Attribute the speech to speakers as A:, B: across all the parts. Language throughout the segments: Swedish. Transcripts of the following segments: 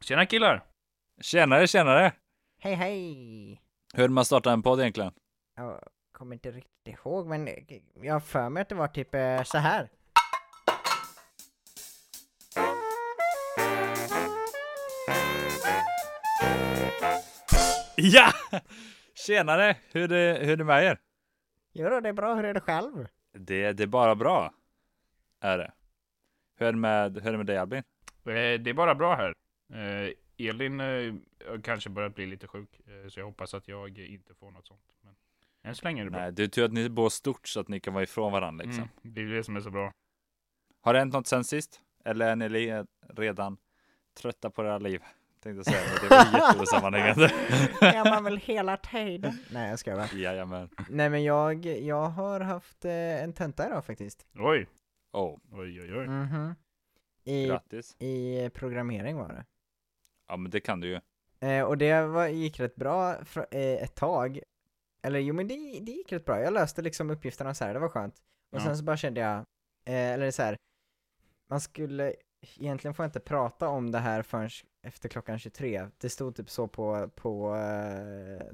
A: Tjena killar! Eh,
B: Tjenare, tjenare!
C: Hej hej!
B: Hur man startar en podd egentligen?
C: Jag kommer inte riktigt ihåg men eh, jag har för mig att det var typ eh, så här.
B: Ja! Tjenare! Hur är det, hur är det med er?
C: Jo då, det är bra, hur är det själv?
B: Det, det är bara bra. Är det. Hur är det med, hur är det med dig Albin?
A: Eh, Det är bara bra här. Eh, Elin eh, har kanske börjat bli lite sjuk, eh, så jag hoppas att jag inte får något sånt. Men än så länge är det bra.
B: Nej, det är tur att ni bor stort så att ni kan vara ifrån varandra liksom.
A: Mm, det är det som är så bra.
B: Har det hänt något sen sist? Eller är ni le- redan trötta på era liv? Tänkte säga, men det var jätteosammanhängande.
C: är man väl hela tiden? Nej jag skojar bara.
B: Jajamän.
C: Nej men jag, jag har haft eh, en tenta idag faktiskt.
A: Oj,
B: Oh,
A: oj, oj, oj.
C: Mhm. I,
B: grattis.
C: I programmering var det.
B: Ja, men det kan du ju.
C: Eh, och det var, gick rätt bra fr- eh, ett tag. Eller jo men det, det gick rätt bra, jag löste liksom uppgifterna så här, det var skönt. Och
A: Ja.
C: sen så bara kände jag, eh, eller så här, man skulle, egentligen får jag inte prata om det här förrän efter klockan 23. Det stod typ så på, på eh,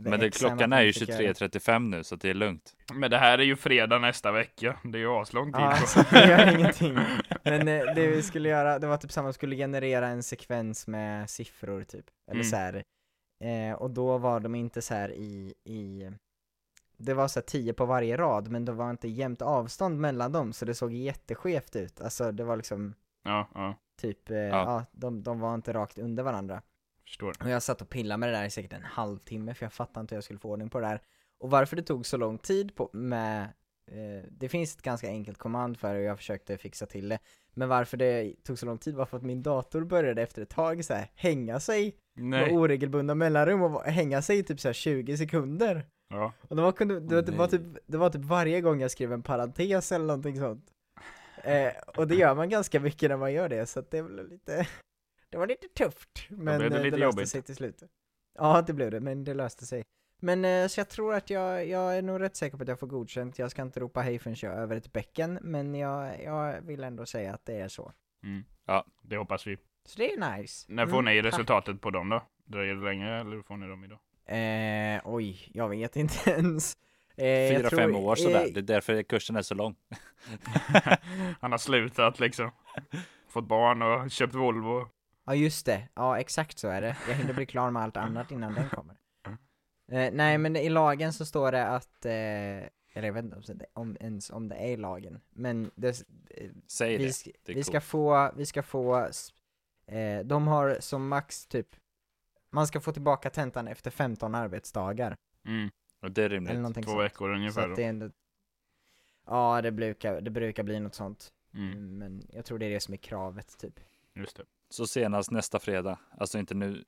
C: the
B: Men det,
C: exam att
B: klockan
C: man
B: är ju
C: fick göra-
B: 23.35 nu så att det är lugnt.
A: Men det här är ju fredag nästa vecka. Det är ju aslång tid.
C: Ja, alltså, det gör ingenting. Men eh, det vi skulle göra, det var typ samma, vi skulle generera en sekvens med siffror typ, eller
A: Mm.
C: så här. Eh, och då var de inte så här i, i, det var så här 10 på varje rad, men det var inte jämnt avstånd mellan dem, så det såg jätteskevt ut. Alltså det var liksom,
A: Ja, ja,
C: typ, eh,
B: Ja.
C: ja, de, de var inte rakt under varandra.
A: förstår.
C: Och jag satt och pillade med det där i säkert en halvtimme, för jag fattade inte hur jag skulle få ordning på det där. Och varför det tog så lång tid på, med, eh, det finns ett ganska enkelt kommand för det och jag försökte fixa till det. Men varför det tog så lång tid var för att min dator började efter ett tag så här, hänga sig med
A: Nej.
C: oregelbundna mellanrum och va- hänga sig i typ så här 20 sekunder.
A: Ja.
C: Och det var, kunde, det, var- det, var
B: Nej.
C: typ, det var typ varje gång jag skrev en parentes eller någonting sånt. Eh, och det gör man ganska mycket när man gör det, så att det blev lite, det var lite tufft. Men
A: blev det
C: eh,
A: lite
C: löste
A: jobbigt.
C: sig till slut. Ja, det blev det, men det löste sig. Men eh, så jag tror att jag, jag är nog rätt säker på att jag får godkänt. Jag ska inte ropa hej förrän jag är över ett bäcken, men jag, jag vill ändå säga att det är så.
A: Mm.
B: Ja.
A: Det hoppas vi.
C: Så det är nice.
A: När får
C: Mm,
A: ni
C: tack.
A: resultatet på dem då? Dröjer det länge eller får ni dem idag?
C: Eh, oj, jag vet inte ens. Eh, jag
B: Fyra,
C: tror-
B: fem år sådär.
C: eh,
B: Det är därför kursen är så lång.
A: Han har slutat liksom. Fått barn och köpt Volvo.
C: Ja just det, ja exakt så är det. Jag hinner bli klar med allt annat innan den kommer. Eh, nej men i lagen så står det att, eh, eller jag vet inte om det, om, ens om det är i lagen, men det, eh,
B: Säg
C: vi,
B: det.
C: sk-
B: det är
C: vi ska
B: coolt.
C: få, vi ska få, s- eh, de har som max typ, man ska få tillbaka tentan efter 15 arbetsdagar.
A: Mm.
B: Och det är
C: eller
B: rimligt.
C: någonting
A: Två
C: sånt.
A: veckor
C: Så
A: ungefär.
C: att
A: då.
C: det är ändå, ja det brukar, det brukar bli något sånt.
A: Mm.
C: Men jag tror det är det som är kravet typ.
A: Just det.
B: Så senast nästa fredag. Alltså inte nu.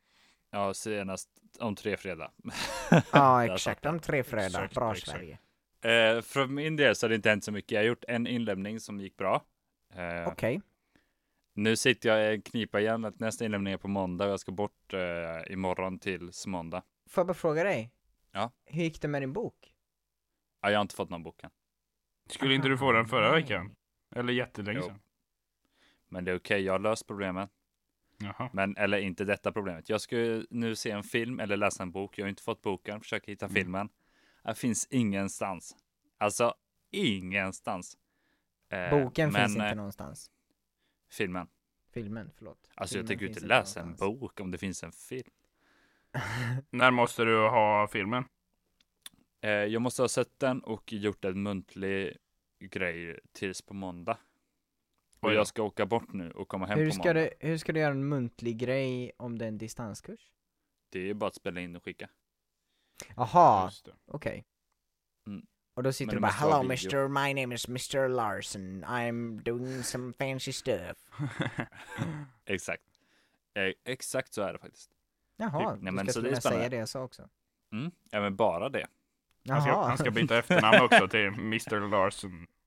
B: Ja, senast om tre fredag.
C: Ja
B: Där
C: exakt, om tre fredag,
A: Exakt,
C: bra
A: exakt.
C: Sverige.
B: Eh, för min del så har det inte hänt så mycket. Jag har gjort en inlämning som gick bra. Eh,
C: Okej.
B: Nu sitter jag i en knipa igen att nästa inlämning är på måndag och jag ska bort eh, imorgon tills måndag.
C: Får jag bara fråga dig?
B: Ja.
C: Hur gick det med din bok?
B: Ja, jag har inte fått någon bok än.
A: Skulle inte du få den förra
C: Nej.
A: veckan? Eller jättelänge
B: Jo.
A: sedan?
B: Men det är okej, jag har löst problemen.
A: Jaha.
B: Men, eller inte detta problemet. Jag ska ju nu se en film eller läsa en bok. Jag har inte fått boken, försöker hitta
A: Mm.
B: filmen. Det finns ingenstans. Alltså, ingenstans. Eh,
C: Boken
B: men,
C: finns inte
B: eh,
C: någonstans.
B: Filmen.
C: Filmen, förlåt.
B: Alltså
C: Filmen
B: jag tänker ju
C: finns
B: inte läsa en
C: någonstans.
B: bok om det finns en film.
A: När måste du ha filmen?
B: Eh, jag måste ha sett den och gjort en muntlig grej tills på måndag. Och
A: Oj då.
B: jag ska åka bort nu och komma hem
C: hur,
B: på
C: ska
B: måndag.
C: du, hur ska du göra en muntlig grej om det är en distanskurs?
B: Det är ju bara att spela in och skicka.
C: Jaha,
A: Just det.
C: okej.
B: Mm.
C: Och då sitter
B: Men
C: du
B: det
C: bara
B: måste vara
C: Hello
B: video."
C: mister, my name is Mr Larson, I'm doing some fancy
B: Typ.
C: stuff.
B: Exakt. Eh, exakt så är det faktiskt.
C: Jaha,
B: Typ, nej,
C: du
B: men
C: ska
B: så
C: till
B: det är
C: och med säga
B: spännande.
C: det jag sa också.
B: Mm. Ja, men bara det.
A: Han, ska,
C: Jaha.
A: han ska byta efternamn också till Mr. Larson.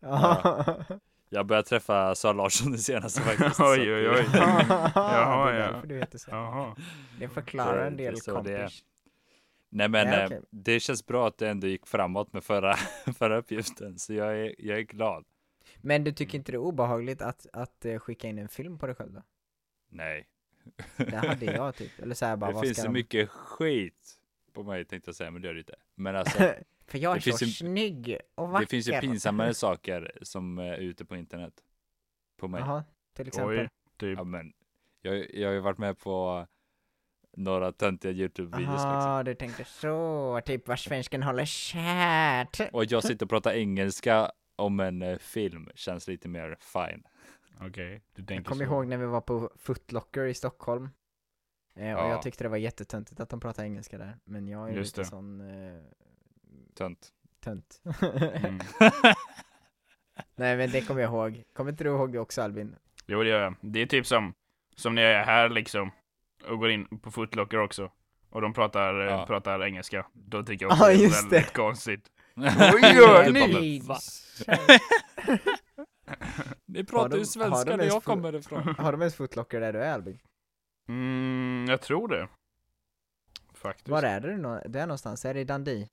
C: Ja.
B: Jag börjar träffa Sara Larsson det senaste faktiskt. så
A: Oj, oj, oj.
B: att det-
C: Jaha,
A: Jaha,
C: det
A: ja.
C: är därför du heter så.
A: Jaha.
C: Det förklarar en
B: Det är
C: del
B: så det är.
C: kompis.
B: Nej men
C: Nej,
B: eh,
C: okej.
B: det känns bra att det ändå gick framåt med förra, förra uppgiften. Så jag är, jag är glad.
C: Men du tycker inte det är obehagligt att, att eh, skicka in en film på dig själv då?
B: Nej,
C: Det hade jag typ. Eller så här bara,
B: det
C: vad
B: finns
C: ska
B: så
C: de-
B: mycket skit på mig tänkte jag säga, men det gör det inte. Men alltså,
C: För jag är
B: det
C: så
B: finns ju-
C: snygg och vacker.
B: det finns ju pinsammare saker som eh, är ute på internet. På mig.
C: Jaha, till exempel.
A: Oj, typ.
B: Ja, men, jag, jag har ju varit med på några töntiga YouTube-videos liksom.
C: Jaha, du tänkte så. Typ vad svensken håller kärt.
B: Och jag sitter och pratar engelska om en eh, film känns lite mer fine.
A: Okej, du
C: Jag
A: tänker
C: kommer
A: så.
C: ihåg när vi var på Footlocker i Stockholm. Eh, och
B: Ja.
C: jag tyckte det var jättetöntigt att de pratade engelska där. Men jag är ju
A: Just
C: lite
A: det.
C: sån eh,
B: Tönt.
C: tönt.
A: Mm.
C: Nej men det kommer jag ihåg. Kommer inte du ihåg det också Albin?
A: Jo det gör jag. Det är typ som, som när jag är här liksom och går in på Footlocker också. Och de pratar, eh,
B: Ja.
A: pratar engelska. Då tycker jag också
C: Ja,
A: det är
C: just
A: väldigt
C: det.
A: konstigt.
B: Vad
A: gör
B: Du
A: ni?
B: bara, men va? Ni pratar
C: de-
B: ju
C: har de
B: svenska där
C: ens
B: jag
C: full-
B: kommer ifrån.
C: Har de ens Footlocker där du är Albin?
A: Mm, jag tror det. Faktiskt.
C: Var är det du nå- du är någonstans? Är det i Dundee?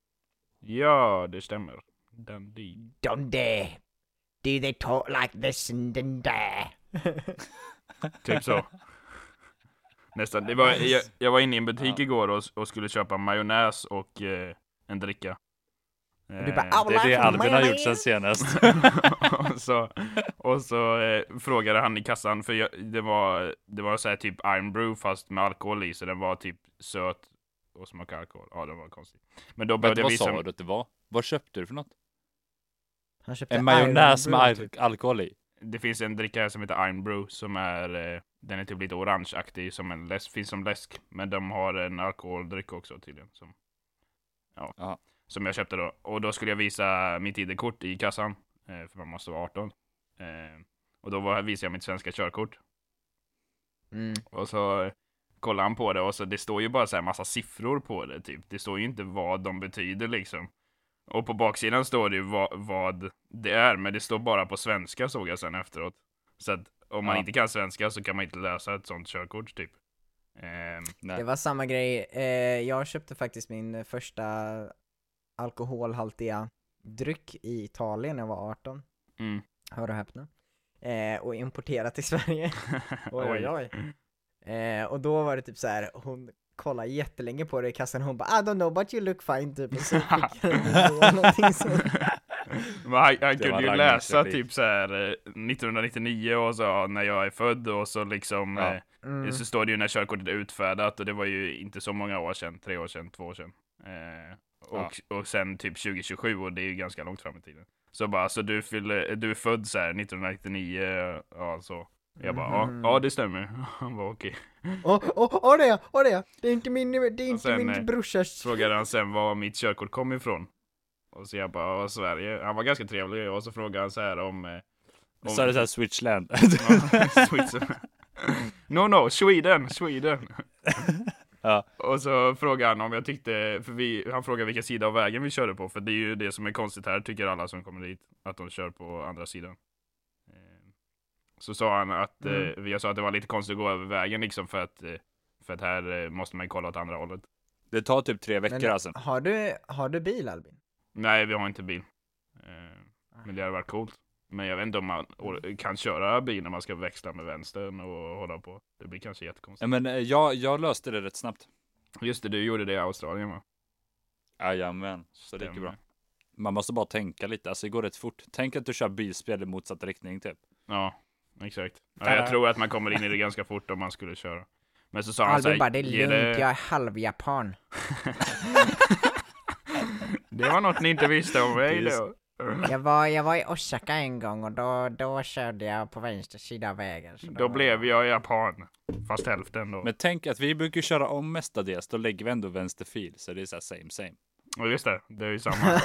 A: Ja, det stämmer. Dundee.
C: Dundee! Do they talk like this in Dundee?
A: Typ så. Nästan. Det var, jag, jag var inne i en butik
B: Ja.
A: igår och, och skulle köpa majonnäs och eh, en dricka.
C: du bara, "Ah,
A: Eh,
C: "Au!"
B: Det är det Albin har gjort sen senast.
A: och så, och så eh, frågade han i kassan, för jag, det var, det var så här typ Iron Brew fast med alkohol i, så den var typ söt och smakade alkohol. Ja, den var konstig. Men då
B: Men
A: började jag
B: vad
A: visa...
B: sa du att det var? Vad köpte du för något?
C: Han köpte
B: En majonnäs
C: Iron
B: med
C: Brew,
B: al-
C: typ.
B: alkohol i?
A: Det finns en dricka här som heter Iron Brew som är, eh, den är typ lite orangeaktig, som en läsk, finns som läsk. Men de har en alkoholdryck också tydligen. Som, ja,
B: Aha.
A: som jag köpte då. Och då skulle jag visa mitt ID-kort i kassan, eh, för man måste vara 18. Eh, och då var, visade jag mitt svenska körkort.
C: Mm.
A: Och så kollar han på det och så det står ju bara så här massa siffror på det typ. Det står ju inte vad de betyder liksom. Och på baksidan står det ju vad, vad det är, men det står bara på svenska såg jag sen efteråt. Så att om man
B: Ja.
A: inte kan svenska så kan man inte läsa ett sånt körkort typ. Ehm,
C: Det
B: Nej.
C: var samma grej, eh, jag köpte faktiskt min eh, första alkoholhaltiga dryck i Italien när jag var 18,
A: mm.
C: hör och häpna. Eh, och importerat till Sverige. Oj, oj, oj. Eh, och då var det typ så här, hon kollade jättelänge på det i kassan och hon bara I don't know but you look fine typ. Och så fick jag då någonting sånt.
A: Men han, han
B: Det
A: kunde
B: var
A: ju
B: Ragnars
A: läsa
B: replik.
A: typ så här eh, 1999 och så ja, när jag är född och så liksom
B: Ja.
A: eh,
C: Mm.
A: Så står det ju när körkortet är utfärdat och det var ju inte så många år sedan, tre år sedan, två år sedan. Eh, och, och sen typ 2027 och det är ju ganska långt fram i tiden. Så bara, så du, fyller, du är född så här 1999, ja så. Jag bara,
C: Mhm.
B: Mm.
A: ja, ja det stämmer. Han bara okej.
C: Åh, åh, åh det är jag, åh det är jag! Det är inte min, det är inte
A: sen, eh,
C: min brorsas.
A: Frågade han sen var mitt körkort kom ifrån. Och så jag bara, ja, Sverige. Han var ganska trevlig och så frågade han så här om... eh, om
B: Sa du såhär switchland?
A: Ja, Switzerland. No no, Sweden, Sweden.
B: Ja.
A: Och så frågade han om jag tyckte, för vi, han frågade vilken sida av vägen vi körde på, för det är ju det som är konstigt här tycker alla som kommer dit, att de kör på andra sidan. Eh, Så sa han att,
B: Mm.
A: eh, jag sa att det var lite konstigt att gå över vägen liksom för att, eh, för att här eh, måste man ju kolla åt andra hållet.
B: Det tar typ tre veckor
C: Men-
B: alltså.
C: Har du, har du bil Albin?
A: Nej, vi har inte bil. Eh, Men det hade varit coolt. Men jag vet inte om man or- kan köra bil när man ska växla med vänstern och hålla på. Det blir kanske
B: Ja,
A: jättekonstigt.
B: Men eh, jag, jag löste det rätt snabbt.
A: Just det, du gjorde det i Australien va?
B: Jajamän, så det gick ju bra. Man måste bara tänka lite, alltså det går rätt fort. Tänk att du kör bilspel i motsatt riktning typ.
A: Ja, exakt. Ja, jag tror att man kommer in i det ganska fort om man skulle köra. Men så sa han så
C: Albin
A: här,
C: bara, det är
A: alltså, "Ge
C: lugnt,
A: det-
C: jag är halvjapan.
A: det var något ni inte visste om mig
B: Det är
A: då.
C: Jag var, jag var i Osaka en gång och då, då körde jag på vänster sida av vägen. så
A: Då
C: var-
A: blev jag japan. Fast hälften då.
B: Men tänk att vi brukar köra om mestadels, då lägger vi ändå vänster fil, så det är så här same same.
A: Ja, just det, det är ju samma.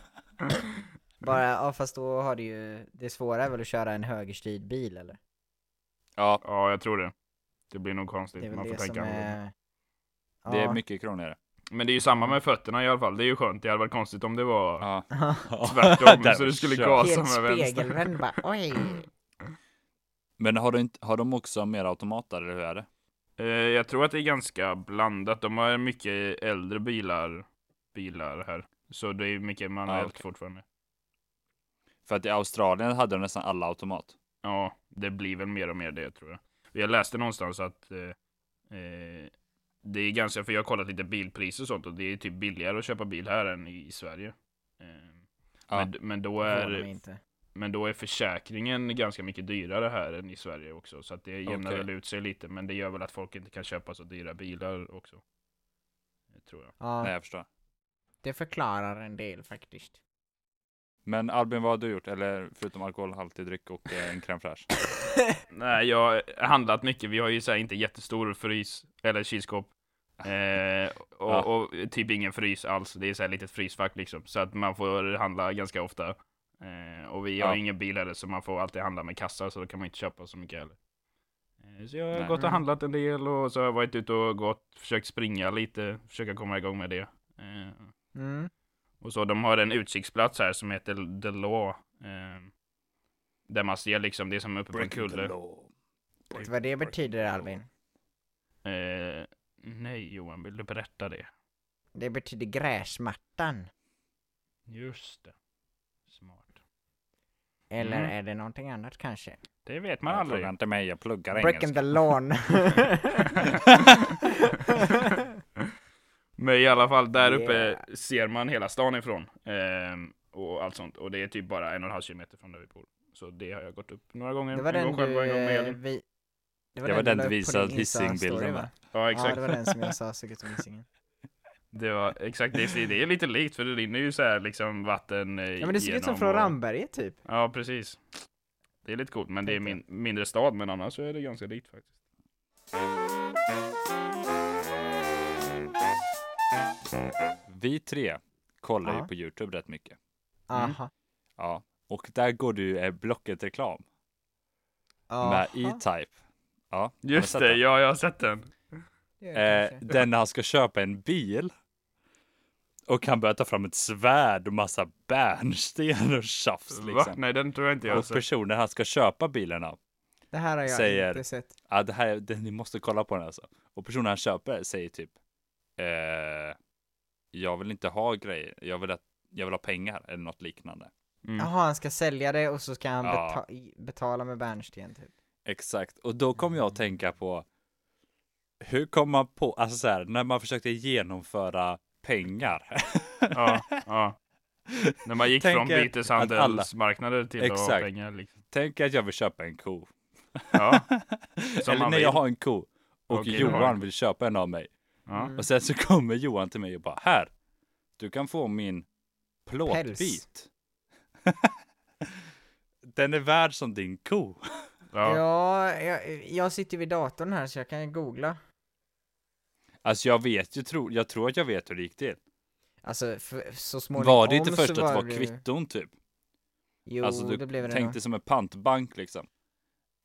C: Bara, ja fast då har du ju, det svåra är väl att köra en högerstyrd bil eller?
B: Ja,
A: Ja, jag tror det. Det blir nog
C: Det är
A: konstigt.
C: väl
A: Man får
C: det som
A: tänka annorlunda.
C: är... Ja.
B: det är mycket krångligare.
A: Men det är ju samma med fötterna i alla fall. Det är ju skönt. Det hade varit konstigt om det var
B: Ja.
A: tvärtom.
B: Där
A: så du skulle
B: kör.
A: gasa
C: Helt
A: med vänster.
C: spegelvänd bara, oj!
B: Men har, du inte, har de också mer automater eller hur är det?
A: Eh, jag tror att det är ganska blandat. De har mycket äldre bilar, bilar här. Så det är mycket manuellt
B: Ah, okej.
A: fortfarande.
B: För att i Australien hade de nästan alla automat.
A: Ja, det blir väl mer och mer det tror jag. Jag läste någonstans att eh, eh, det är ganska, för jag har kollat lite bilpriser och sånt och det är typ billigare att köpa bil här än i Sverige. Eh,
B: Ja.
A: men, men då
C: Förvånar
A: är
C: mig inte.
A: men då är försäkringen ganska mycket dyrare här än i Sverige också. Så att det jämnar
B: Okej.
A: väl ut sig lite. Men det gör väl att folk inte kan köpa så dyra bilar också. Det tror jag.
C: Ja,
B: Nej, jag förstår.
C: det förklarar en del faktiskt.
B: Men Albin, vad har du gjort? Eller förutom alkoholhaltig dryck och eh, en crème fraîche?
A: Nej, jag har handlat mycket. Vi har ju så här inte jättestor frys eller kylskåp.
B: Ah.
A: Eh, och,
B: Ja.
A: och typ ingen frys alls. Det är så här litet frysfack liksom. Så att man får handla ganska ofta. Eh, och vi har
B: Ja.
A: ju ingen bil heller så man får alltid handla med kassar så då kan man inte köpa så mycket heller. Eh, så jag har
B: Nej.
A: gått och handlat en del och så har jag varit ute och gått, försökt springa lite, försöka komma igång med det. Eh,
C: Mm.
A: och så de har en utsiktsplats här som heter The Law. Eh, där man ser liksom, det är som uppe på en kulle.
C: Vet du vad det betyder Albin?
A: Eh, nej Johan, vill du berätta det?
C: Det betyder gräsmattan.
A: Just det. Smart.
C: Eller
A: Mm.
C: är det någonting annat kanske?
A: Det vet man
B: Man
A: aldrig.
B: frågar inte mig, jag pluggar
C: Breaking
B: engelska.
C: the lawn.
A: Men i alla fall, där uppe
C: Yeah.
A: ser man hela stan ifrån. Ehm, och allt sånt. Och det är typ bara en och en halv kilometer från där vi bor. Så det har jag gått upp några gånger.
C: Det var
A: en
C: den
A: gång själv och en
C: du...
A: gång med
C: eh,
A: Elin.
C: Vi...
B: Det var den
C: la
B: du
C: upp på din
B: visade Hisingbilden
C: Insta-story,
B: med.
C: va?
A: Ja,
C: Ja,
A: exakt.
C: det var den som jag sa, såg ut som Hisingen.
A: det var exakt det. ser- Det är lite likt, för det rinner ju så här liksom vatten eh,
C: Ja men det såg ut som
A: genom
C: från
A: och-
C: Ramberget typ.
A: Ja, precis. Det är lite coolt, men det är min, mindre stad, men annars så är det ganska likt faktiskt.
B: Vi tre kollar ju
C: Ja.
B: på Youtube rätt mycket. Mm.
C: Aha.
B: Ja, och där går du eh, Blocket-reklam
C: Aha.
B: med E-Type. Ja, har ni
A: Just
B: sett
A: det,
B: den?
A: ja, jag har sett den.
C: Det gör jag
B: Eh,
C: kanske.
B: den när han ska köpa en bil och kan börja ta fram ett svärd och massa bärnsten och tjafs
A: Va?
B: liksom.
A: Nej, alltså- den tror jag inte jag har
B: Och
A: sett.
B: personen han ska köpa bilen av.
C: Det här har jag
B: säger-
C: inte sett.
B: Ja, det här, det, ni måste kolla på den alltså. Och personen han köper säger typ eh, jag vill inte ha grejer, jag vill, att, jag vill ha pengar eller något liknande.
A: Mm.
C: Jaha, han ska sälja det och så ska han
B: Ja.
C: beta- betala med bärnsten typ.
B: Exakt, och då kom jag att
A: Mm.
B: tänka på hur kom man på, alltså så här, när man försökte genomföra pengar.
A: Ja, ja. När man gick
B: Tänk
A: från
B: er att
A: byteshandelsmarknader till att ha
B: Exakt.
A: pengar. Liksom.
B: Tänk att jag vill köpa en ko.
A: Ja, Som man
B: Eller när
A: vill.
B: jag har en ko och
A: Okej, du har en
B: Johan
A: ko.
B: vill köpa en av mig.
A: ja.
C: Mm.
B: Och sen så kommer Johan till mig och bara här, du kan få min plåtbit. Den är värd som din ko.
A: ja.
C: Ja, jag, jag sitter vid datorn här så jag kan ju googla.
B: Alltså jag vet ju, tro, jag tror att jag vet hur det gick till.
C: Alltså f- så småningom
B: Var det inte
C: så
B: först att det var
C: ju-
B: kvitton typ?
C: Jo,
B: alltså du
C: det blev det nog.
B: tänkte som en pantbank liksom.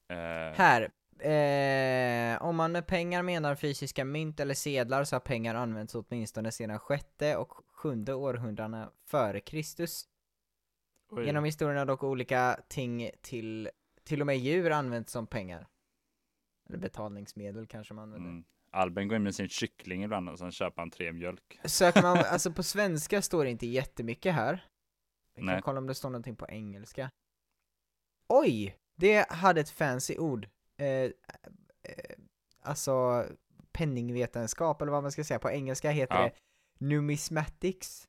B: Eh,
C: Här. Eh, om man med pengar menar fysiska mynt eller sedlar så har pengar använts åtminstone sedan sjätte och sjunde århundradena före Kristus.
A: Oj.
C: Genom historien har dock olika ting till, till och med djur använts som pengar. Eller betalningsmedel kanske man använder.
B: mm. Albin går in med sin kyckling ibland och sen köper han tre mjölk.
C: Söker man, alltså på svenska står det inte jättemycket här. Vi kan
B: Nej.
C: kolla om det står någonting på engelska. Oj! Det hade ett fancy ord. Eh, eh, alltså penningvetenskap eller vad man ska säga. På engelska heter
B: Ja.
C: det numismatics.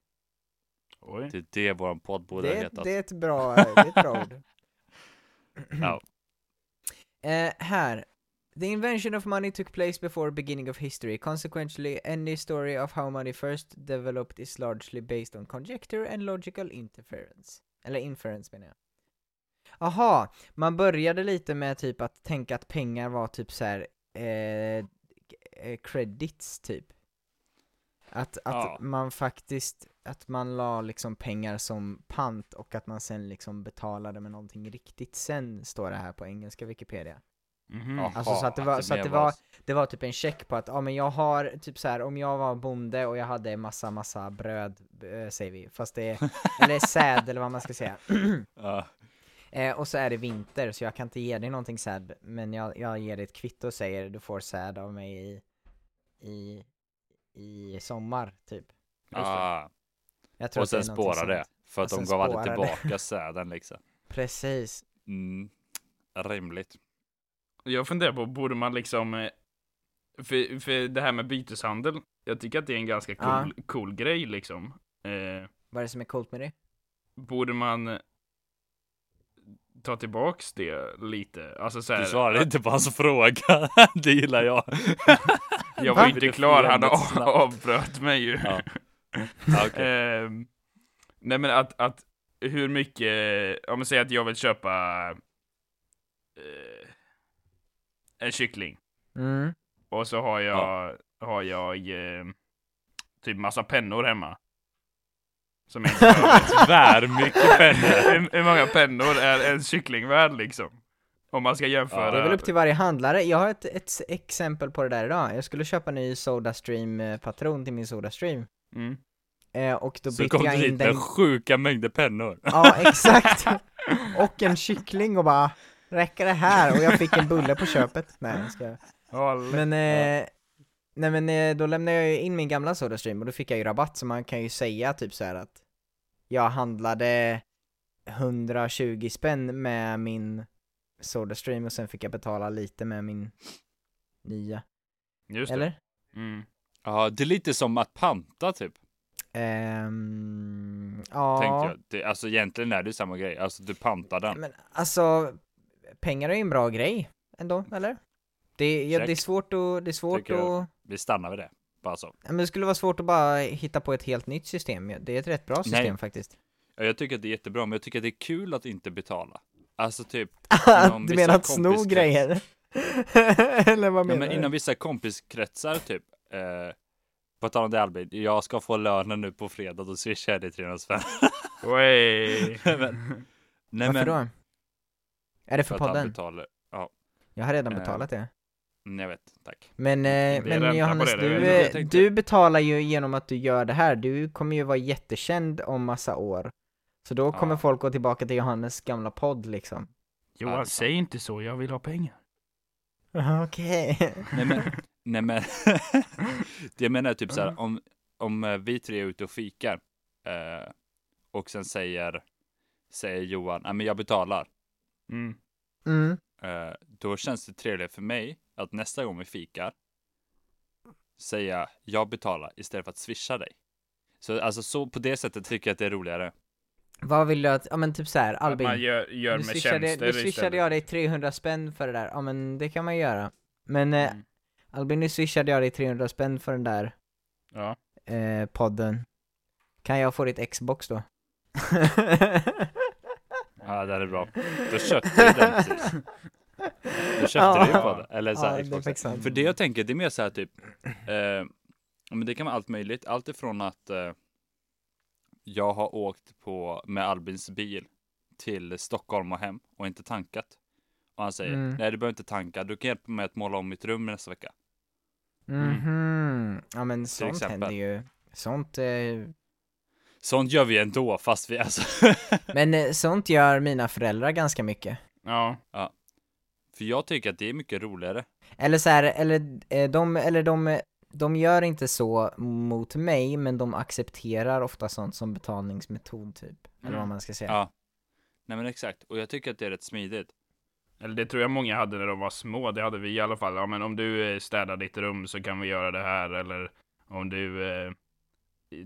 A: Oj.
B: Det är det våran podd borde
C: det,
B: ha
C: är-
B: hetat.
C: det är ett bra, det är ett bra ord.
B: Ja.
C: Eh, här. The invention of money took place before beginning of history. Consequently, any story of how money first developed is largely based on conjecture and logical interference. Eller inference menar jag. Aha, man började lite med typ att tänka att pengar var typ så här eh, eh, credits typ. Att, att
B: Ja.
C: man faktiskt, att man la liksom pengar som pant och att man sen liksom betalade med någonting riktigt sen, står det här på engelska Wikipedia.
A: Mhm.
B: Jaha,
C: Alltså, så att det var- så att
B: mer
C: det var- Det var typ en check på att, ja men jag har, typ så här, om jag var bonde och jag hade massa, massa bröd, eh, säger vi, fast det är, eller säd eller vad man ska säga.
B: Ja.
C: Eh, och så är det vinter, så jag kan inte ge dig någonting säd, men jag, jag ger dig ett kvitto och säger du får säd av mig i, i, i sommar, typ.
A: det.
B: Ah,
C: Jag tror
B: och
C: att det
B: sen
C: är någonting
B: spåra det.
C: sånt.
B: För
C: Och
B: att de
C: sen
B: gav aldrig
C: spåra det.
B: tillbaka säden liksom.
C: Precis.
B: Mm. Rimligt.
A: Jag funderar på, borde man liksom... eh, För, för det här med byteshandel, jag tycker att det är en ganska cool,
C: Ja.
A: cool grej liksom. Eh,
C: Vad är det som är coolt med det?
A: borde man ta tillbaks det lite? Alltså så här,
B: Du svarade inte på hans fråga. Det gillar jag.
A: Jag
C: Va?
A: var inte klar, han
B: Jävligt
A: av-
B: snabbt.
A: avbröt mig ju.
B: Ja. Ja, okej.
A: Ehm, nej men att, att hur mycket, om man säger att jag vill köpa eh, en kyckling
C: Mm.
A: och så har jag, har jag eh, typ massa pennor hemma. Som jag inte behöver.
B: Tvärmycket pennor.
A: hur, hur många pennor är en kyckling värd liksom? Om man ska jämföra.
B: Ja,
C: Det är väl upp till varje handlare. Jag har ett, ett exempel på det där idag. Jag skulle köpa en ny Sodastream-patron till min Sodastream.
A: mm.
C: Eh, och då
B: Så
C: bytte
B: kom
C: jag
B: du
C: in
B: dit
C: den...
B: med sjuka mängder pennor.
C: Ja, exakt! Och en kyckling och bara, räcker det här? Och jag fick en bulle på köpet. Nej, jag skojar.
A: Alla-
C: Men, eh, nej men eh, då lämnade jag ju in min gamla Sodastream och då fick jag ju rabatt så man kan ju säga typ så här att jag handlade 120 spänn med min Sodastream och sen fick jag betala lite med min nya,
A: Just det.
C: eller?
A: Mm.
B: Ja, det är lite som att panta typ.
C: Ehm, ja,
B: Tänkte jag. Det, alltså egentligen är det ju samma grej. Alltså du pantar den.
C: men alltså pengar är ju en bra grej ändå, eller? Det, ja, det är
B: Check.
C: svårt att, det är svårt
B: Tycker jag.
C: att,
B: Vi stannar vid det. Bara så.
C: ja, men det skulle vara svårt att bara hitta på ett helt nytt system Det är ett rätt bra system faktiskt
B: Ja, jag tycker att det är jättebra, men jag tycker att det är kul att inte betala. Alltså typ. inom
C: du
B: vissa
C: menar att sno
B: kompiskrets-
C: grejer? Eller vad
B: Ja,
C: menar
B: men
C: du?
B: inom vissa kompiskretsar typ. Eh, på tal om det Albin, jag ska få lönen nu på fredag, då swishar jag dig 300 spänn.
A: Oj.
B: Men- Nej,
C: Varför
B: men,
C: då? Är det för
B: att han
C: podden?
B: betalar.
C: Jag har redan
B: Eh,
C: betalat det.
B: Mm, jag vet, tack.
C: Men,
A: är
C: eh, men
A: ränta
C: Johannes,
A: på det, det är
C: du,
A: väl-
B: Jag
C: eh,
B: tänkte-
C: du betalar ju genom att du gör det här. Du kommer ju vara jättekänd om massa år. Så då kommer
B: Ja.
C: folk gå tillbaka till Johannes gamla podd liksom.
A: Johan, säg inte så, jag vill ha pengar.
C: Okej.
B: Nej men, nej men. det jag menar är typ så här, om, om eh, vi tre är ute och fikar eh, och sen säger, säger Johan, nej men jag betalar.
A: Mm.
C: Mm.
B: Eh, då känns det trevligare för mig att nästa gång vi fikar säga jag betalar istället för att swisha dig. Så alltså så på det sättet tycker jag att det är roligare.
C: Vad vill du att, ja men typ så här,
A: Albin, man
C: Albin.
A: gör, gör
C: Nu
A: med
C: swishade,
A: tjänster
C: nu swishade
A: istället.
C: jag dig 300 spänn för det där. Ja men det kan man göra. Men eh,
A: Mm.
C: Albin, nu swishade jag dig 300 spänn för den där
A: Ja.
C: eh, podden. Kan jag få ditt Xbox då?
B: Ja, det här är bra. Då köpte du den precis. Då köpte
C: Ja.
B: du ju på det. Eller så här,
C: Ja, det är
B: Xboxen.
C: faktiskt sant.
B: För det jag tänker, det är mer så här typ, eh, ja, men det kan vara allt möjligt. Allt ifrån att eh, jag har åkt på med Albins bil till Stockholm och hem och inte tankat. Och han säger,
C: Mm.
B: nej du behöver inte tanka, du kan hjälpa mig att måla om mitt rum nästa vecka.
C: Mhm. Ja men sånt
B: Mm. exempel.
C: händer ju. Sånt, eh,
B: Sånt gör vi ändå, fast vi alltså.
C: men eh, sånt gör mina föräldrar ganska mycket.
A: Ja.
B: För jag tycker att det är mycket roligare.
C: Eller så här, eller eh, de, eller de, eh, de gör inte så mot mig, men de accepterar ofta sånt som betalningsmetod typ. Eller
A: Mm.
C: vad man ska säga.
B: Ja. Nej men exakt, och jag tycker att det är rätt smidigt.
A: Eller det tror jag många hade när de var små. Det hade vi i alla fall. Ja, men om du eh, städar ditt rum så kan vi göra det här. Eller om du eh,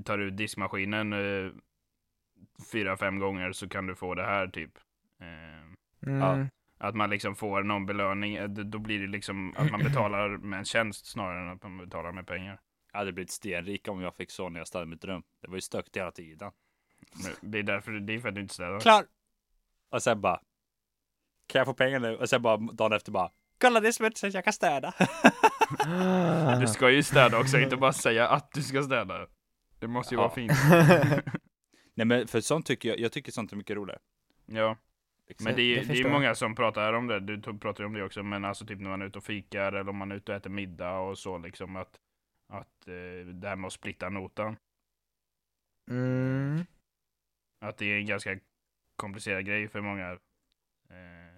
A: tar ut diskmaskinen eh, fyra, fem gånger så kan du få det här typ. Eh,
C: Mm.
A: att man liksom får någon belöning. Eh, d- Då blir det liksom att man betalar med en tjänst snarare än att man betalar med pengar.
B: Jag hade blivit stenrik om jag fick så när jag städade mitt rum. Det var ju stökigt hela tiden.
A: Men det är därför, det är för att du inte städar.
B: Klar! Och sen bara. Kan jag få pengar nu? Och sen bara dagen efter bara. Kolla det är smutsigt, jag kan städa.
C: Ah.
A: Du ska ju städa också, inte bara säga att du ska städa. Det måste ju
B: Ja.
A: vara fint.
B: Nej men för sånt tycker jag, jag tycker sånt är mycket roligare.
A: Ja. Men
C: Så
A: det är,
C: det
A: ju- det är
C: förstår
A: ju
C: jag.
A: många som pratar om det, du to- pratar ju om det också, men alltså typ när man är ute och fikar eller om man är ute och äter middag och så liksom att, att eh, det här med att splitta notan,
C: Mm.
A: att det är en ganska komplicerad grej för många eh,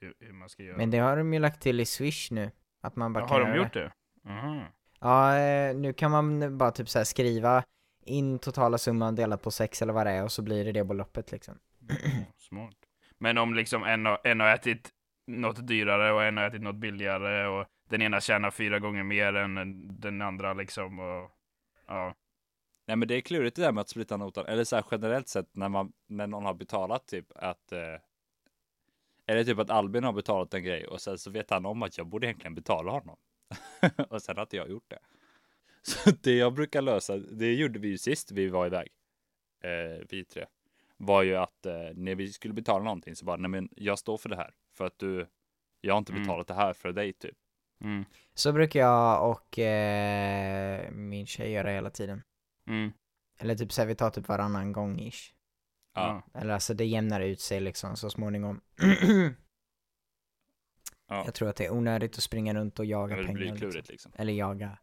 A: hur, hur man ska göra.
C: Men det har de ju lagt till i Swish nu. Att man bara
A: Ja,
C: kan
A: har de
C: göra
A: gjort det? Aha.
C: Ja, eh, nu kan man bara typ så här skriva in totala summan delat på sex eller vad det är och så blir det det beloppet liksom.
A: Mm, Smart. Men om liksom en har, en har ätit något dyrare och en har ätit något billigare och den ena tjänar fyra gånger mer än den andra liksom. Och, ja.
B: Nej men det är klurigt det där med att splitta notan. Eller så här generellt sett när, man, när någon har betalat typ att eh, Eller typ att Albin har betalat en grej och sen så vet han om att jag borde egentligen betala honom. och sen har inte jag gjort det. Så det jag brukar lösa, det gjorde vi ju sist vi var iväg. Eh, vi tre. Var ju att eh, när vi skulle betala någonting så bara, nej men jag står för det här. För att du, jag har inte
A: Mm.
B: betalat det här för dig typ.
A: Mm.
C: Så brukar jag och eh, min tjej göra hela tiden.
A: Mm.
C: Eller typ såhär, vi tar typ varannan gång ish.
B: Ja. mm.
C: Eller alltså det jämnar ut sig liksom så småningom.
B: Ja.
C: Jag tror att det är onödigt att springa runt och jaga
B: Men det
C: pengar.
B: blir
C: liksom.
B: klurigt liksom.
C: Eller jaga.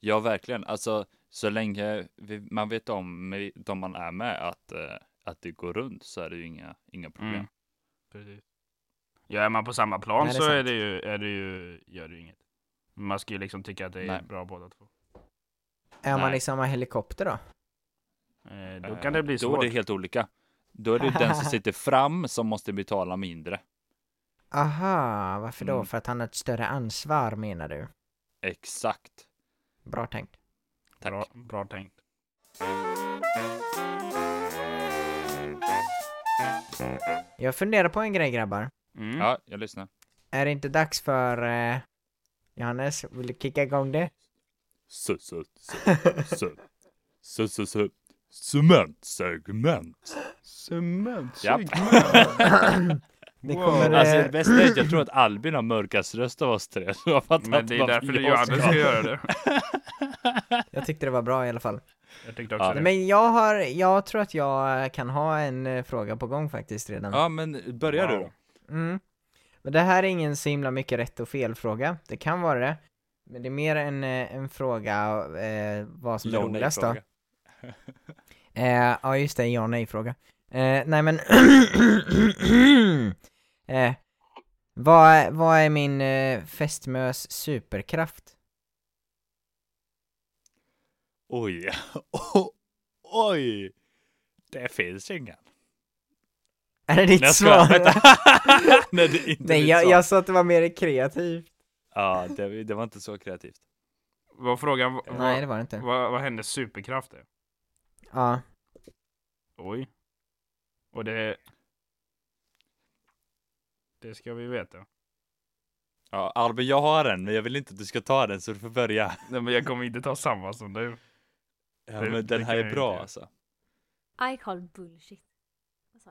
B: Ja, verkligen. Alltså, så länge vi, man vet om med de man är med att, eh, att det går runt så är det ju inga, inga problem.
A: Mm. Precis. Ja, är man på samma plan
C: Nej, det är
A: så är
C: sant.
A: det, ju, är det ju, gör det ju inget. Man ska ju liksom tycka att det är
B: Nej.
A: bra båda två.
C: Är man
B: Nej.
C: i samma helikopter då?
A: Eh, då
B: Eh,
A: kan det bli
B: Då är
A: svårt.
B: det helt olika. Då är det den som sitter fram som måste betala mindre.
C: Aha, varför då?
B: Mm.
C: För att han har ett större ansvar menar du?
B: Exakt.
C: Bra tänkt.
B: Tack.
A: Bra, bra tänkt.
C: Jag funderar på en grej grabbar.
A: Mm.
B: Ja, jag lyssnar.
C: Är det inte dags för eh, Johannes, vill du kicka igång det?
B: Su, su, su, su. Su, su, su. Cement, segment. Japp.
C: Det
A: Wow.
C: kommer...
B: Alltså
C: eh,
B: det bästa är att jag tror att Albin har mörkast röst av oss tre. Så jag fattar
A: Men
B: inte
A: det är
B: varför
A: därför det är
B: jag
A: Johannes ska göra det.
C: jag tyckte det var bra i alla fall.
A: Jag tyckte också
B: Ja.
A: det.
C: Men jag har, jag tror att jag kan ha en eh, fråga på gång faktiskt redan.
B: Ja, men börja du då.
C: Mm. Men det här är ingen så himla mycket rätt och fel fråga. Det kan vara det. Men det är mer en, eh, en fråga eh, vad som är
B: Ja, nej,
C: roligast då.
B: fråga.
C: Eh, ja just det, ja nej fråga. Eh, nej men... eh, vad, är- vad är min eh, fästmös superkraft?
B: Oj. Oh, oj. Det finns ingen.
C: Är det ditt
B: Nej, jag skojar.
C: svar?
B: Vänta. Nej, det är inte
C: nej
B: mitt
C: jag,
B: svar.
C: jag sa att det var mer kreativt.
B: Ja, det, det var inte så kreativt.
A: Vad frågan var-
C: Nej det var det inte.
A: vad, vad hennes superkraft är?
C: Ja.
A: Oj. Och det... Det ska vi veta.
B: Ja, Albin, jag har en, men jag vill inte att du ska ta den, så du får börja.
A: Nej, men jag kommer inte ta samma som du.
B: Ja,
A: Det-
B: men
A: det
B: den här
A: kan jag
B: är
A: inte
B: bra
A: göra.
B: alltså.
D: I call bullshit. Vad sa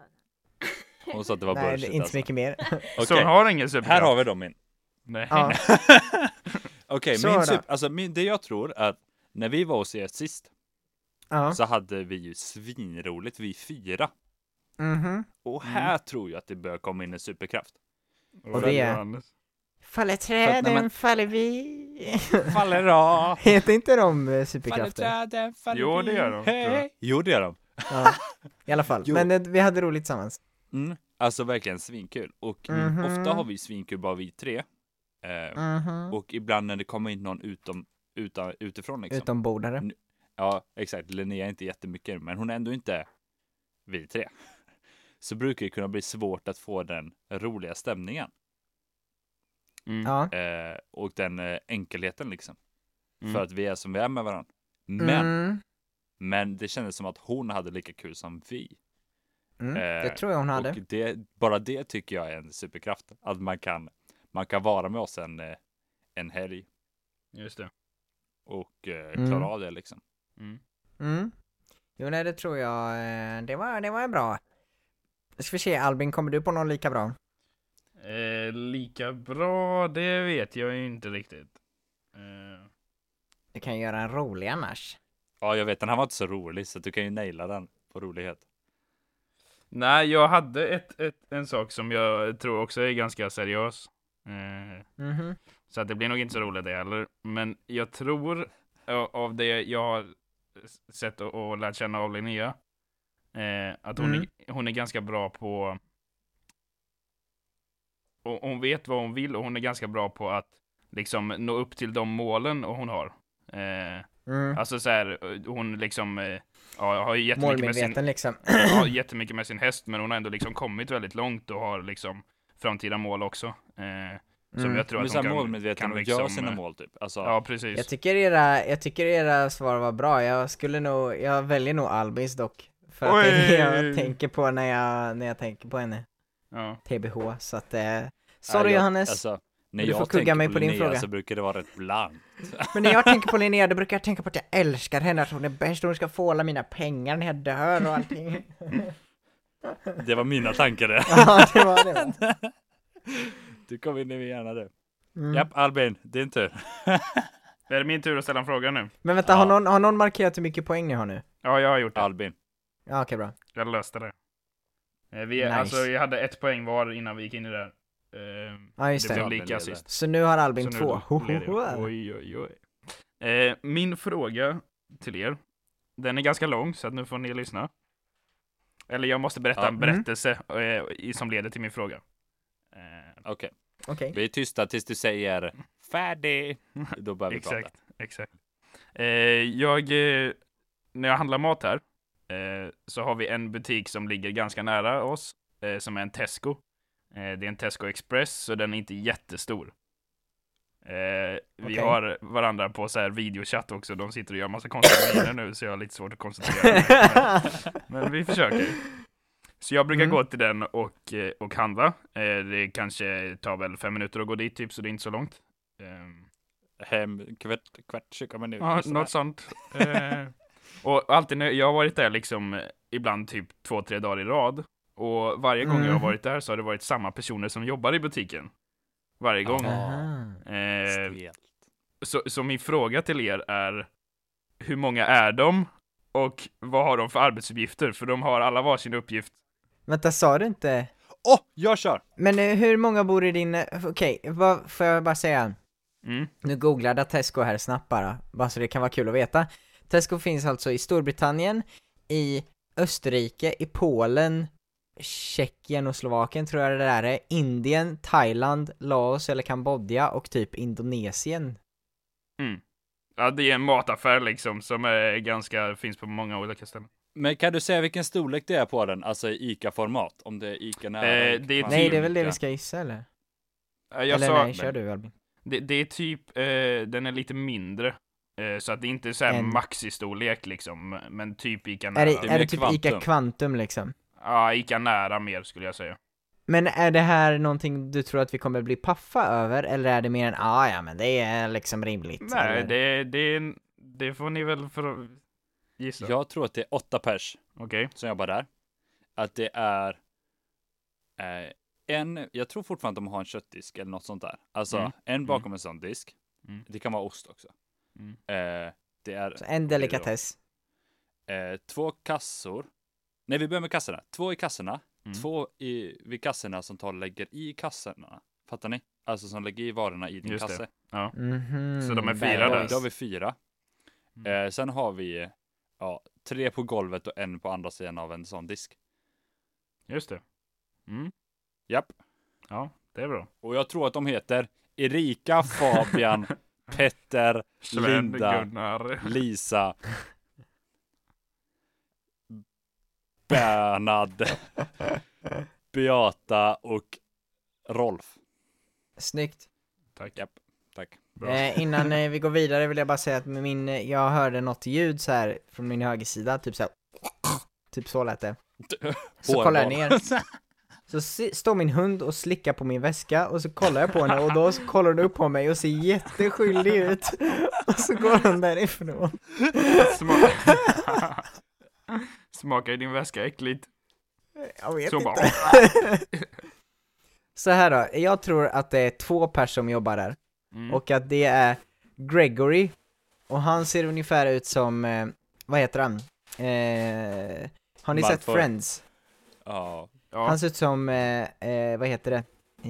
D: jag?
B: Hon sa att det var
C: Nej,
B: bullshit
C: inte
B: alltså.
C: så mycket mer.
A: Så
B: Okej,
A: hon har ingen
B: här
A: superkraft?
B: har vi då min.
A: Nej.
C: ja.
B: Okej,
C: Så
B: min
C: då.
B: sup- alltså min, det jag tror är att när vi var hos er sist
C: ja.
B: så hade vi ju svinroligt, vi fyra.
C: Mhm.
B: Och här tror jag att det börjar komma in en superkraft.
A: Vad
C: det är-
A: Johannes?
C: Faller
B: För att när
C: träden,
B: man-
C: faller vi.
B: Faller av!
C: Heter inte de eh, superkrafter?
B: träden, faller
A: Jo, det gör de, tror jag.
B: Hej. Jo, det gör de.
C: Ja. I alla fall.
B: Jo.
C: Men eh, vi hade roligt tillsammans.
B: Mm. Alltså verkligen svinkul. Och
C: Mhm.
B: ofta har vi svinkul bara vi tre. Eh,
C: Mhm.
B: Och ibland när det kommer in någon utom, utan, utifrån liksom.
C: Utombordare.
B: Ja, exakt. Linnea är inte jättemycket, men hon är ändå inte vi tre. Så brukar det kunna bli svårt att få den roliga stämningen.
A: Mm.
C: Ja.
B: Eh, och den eh, enkelheten liksom.
A: Mm.
B: För att vi är som vi är med varandra. Men,
C: Mm.
B: men det kändes som att hon hade lika kul som vi.
C: Mm.
B: eh,
C: det tror jag hon hade.
B: Och det, bara det tycker jag är en superkraft. Att man kan, man kan vara med oss en, eh, en helg
A: Just det.
B: och eh,
C: Mm.
B: klara av det liksom.
A: Mm.
C: Mm. Jo, nej, det tror jag. eh, Det var, det var bra. Nu ska vi se, Albin, kommer du på någon lika bra?
A: Eh, lika bra, det vet jag ju inte riktigt. Eh,
C: Du kan göra en rolig annars.
B: Ja, jag vet, den här var inte så rolig så du kan ju naila den på rolighet.
A: nej, jag hade ett, ett, en sak som jag tror också är ganska seriös. Eh,
C: Mhm.
A: Så att det blir nog inte så roligt det heller. Men jag tror ö, av det jag har s- sett och, och lärt känna av Linnea. Eh, att hon,
C: Mm.
A: är, hon är ganska bra på... Och hon vet vad hon vill och hon är ganska bra på att liksom nå upp till de målen och hon har. Eh,
C: Mm.
A: Alltså så här, ö, hon liksom... Eh, ja, har ju jättemycket med sin
C: Målmedveten liksom.
A: har jättemycket med sin häst, men hon har ändå liksom kommit väldigt långt och har liksom framtida mål också. Eh, som
C: Mm.
A: jag tror
B: De är
A: att de
B: såhär
A: kan,
B: målmedvetna
A: kan
B: och
A: liksom,
B: gör sina
A: eh,
B: mål typ. Alltså,
A: Ja, precis.
C: Jag tycker era, jag tycker era svar var bra, jag skulle nog, jag väljer nog Albins dock. För att det är det
A: Oj!
C: jag tänker på när jag, när jag tänker på henne.
A: Ja.
C: TBH, så att eh,
B: jag-
C: Sorry Johannes,
B: Alltså, när
C: du
B: jag
C: får kugga
B: tänker
C: mig på din
B: Linnea
C: fråga.
B: så brukar det vara rätt blankt.
C: men när jag tänker på Linnea då brukar jag tänka på att jag älskar henne, att hon är bäst, hon ska få alla mina pengar när jag dör och allting.
B: Det var mina tankar det.
C: ja, det var det. va?
B: Du kom in i min hjärna du.
C: Mm.
B: Japp, Albin, din tur.
A: Är det min tur att ställa en fråga nu?
C: Men vänta,
B: Ja.
C: har, någon, har någon markerat hur mycket poäng ni har nu?
A: Ja, jag har gjort det.
B: Albin.
C: Ja, okej bra.
A: Jag löste det. Eh, vi,
C: Nice.
A: alltså, jag hade ett poäng var innan vi gick in i det här. Eh,
C: Ja, just
A: det
C: det.
A: blev
B: Albin
A: lika
B: leder.
A: sist.
C: Så nu har
A: Så
C: Albin
A: nu
C: två.
A: leder jag. Oj, oj, oj. Eh, min fråga till er, den är ganska lång så att nu får ni lyssna. Eller jag måste berätta
B: Ja.
A: en berättelse eh, i- som leder till min fråga. Eh,
B: Okej,
C: Okej.
B: vi är tysta tills du säger färdig. Då börjar vi prata.
A: exakt, exakt. Eh, jag, eh, när jag handlar mat här, eh, så har vi en butik som ligger ganska nära oss, eh, som är en Tesco. Eh, det är en Tesco Express, så den är inte jättestor. Eh, Vi
C: Okej.
A: har varandra på så här videochatt också, de sitter och gör massa konstiga miner nu, så jag har lite svårt att koncentrera mig. Men- Men vi försöker. Så jag brukar
C: Mm.
A: gå till den och, eh, och handla. Eh, Det kanske tar väl fem minuter att gå dit typ, så det är inte så långt. Ehm,
B: Hem kvart, kvart 20 minuter. Alltså,
A: Ja,
B: typ. sådär.
A: något sånt. Eh, och alltid när jag har varit där liksom eh, ibland typ två, tre dagar i rad. Och varje gång jag har
C: Mhm.
A: varit där så har det varit samma personer som jobbar i butiken. Varje gång.
B: Aha.
C: Aha.
A: Eh,
B: Stelt.
A: så, så min fråga till er är, hur många är de? Och vad har de för arbetsuppgifter? För de har alla varsin uppgift.
C: Vänta, sa du inte?
B: Åh, jag kör!
C: Men eh, hur många bor i din... eh, Okej, vad, får jag bara säga?
A: Mm.
C: Nu googlade jag Tesco här snabbt bara, bara så det kan vara kul att veta. Tesco finns alltså i Storbritannien, i Österrike, i Polen, Tjeckien och Slovakien tror jag det där är, Indien, Thailand, Laos eller Kambodja och typ Indonesien.
A: Ja, det är en mataffär liksom som är ganska, finns på många olika ställen.
B: Men kan du säga vilken storlek det är på den? Alltså i ICA-format? Om det är ICA nära?
A: Eh,
B: Ica
A: det är
B: nära.
C: Nej, det är väl det vi ska gissa eller?
A: Eh, Jag
C: eller
A: sa,
C: nej, kör du Albin.
A: Det, det är typ, eh, den är lite mindre. Eh, så att det inte är så här
C: En.
A: maxistorlek liksom, men typ Ica nära.
C: Är det,
B: det är
C: är
B: mer
C: det typ
B: kvantum.
C: Ica Kvantum liksom?
A: Ja, Ica nära mer skulle jag säga.
C: Men är det här någonting du tror att vi kommer bli paffa över, eller är det mer en ah, ja men det är liksom rimligt?
A: Nej,
C: eller?
A: det, det, det får ni väl för... gissa.
B: Jag tror att det är åtta pers
A: Okej.
B: som jobbar där. Att det är eh, en, jag tror fortfarande att de har en köttdisk eller något sånt där. Alltså
A: Mm.
B: en bakom en sån disk.
A: Mm.
B: Det kan vara ost också.
A: Mm.
B: Eh, det är
C: Så en delikatess.
B: eh, två kassor. Nej, vi börjar med kassorna. Två i kassorna,
A: Mm.
B: två i, vid kassorna som tar och lägger i kassorna. Fattar ni? Alltså som lägger i varorna i din
A: Just det.
B: kasse.
C: Mhm,
A: Så de är
C: bad
A: fyra
B: Då-
A: där.
C: boys.
B: Då har vi fyra.
A: Mm.
B: Eh, sen har vi ja, tre på golvet och en på andra sidan av en sån disk.
A: Just det. Mm.
B: Japp.
A: Ja, det är bra.
B: Och jag tror att de heter Erika, Fabian, Petter,
A: Sven,
B: Linda.
A: Gunnar.
B: Lisa, Bernad, Beata och Rolf.
C: Snyggt.
A: Tack.
B: Japp. Tack.
A: Bra.
C: Eh, innan eh, vi går vidare vill jag bara säga att min, eh, jag hörde något ljud så här från min högersida, typ så här, Typ så lät det. Så kollar jag ner. Så si- står min hund och slickar på min väska och så kollar jag på henne och då så kollar hon upp på mig och ser jätteskyldig ut. Och så går hon därifrån.
A: Sma- Smakar i din väska äckligt?
C: Jag vet
A: Så
C: inte.
A: bara.
C: Så här då, jag tror att det är två personer som jobbar där
A: Mm.
C: och att det är Gregory och han ser ungefär ut som, eh, vad heter han? Eh, har ni sett
B: Malfoy.
C: Friends?
B: Ja.
A: Ja.
C: Han ser ut som, eh, eh, vad heter det?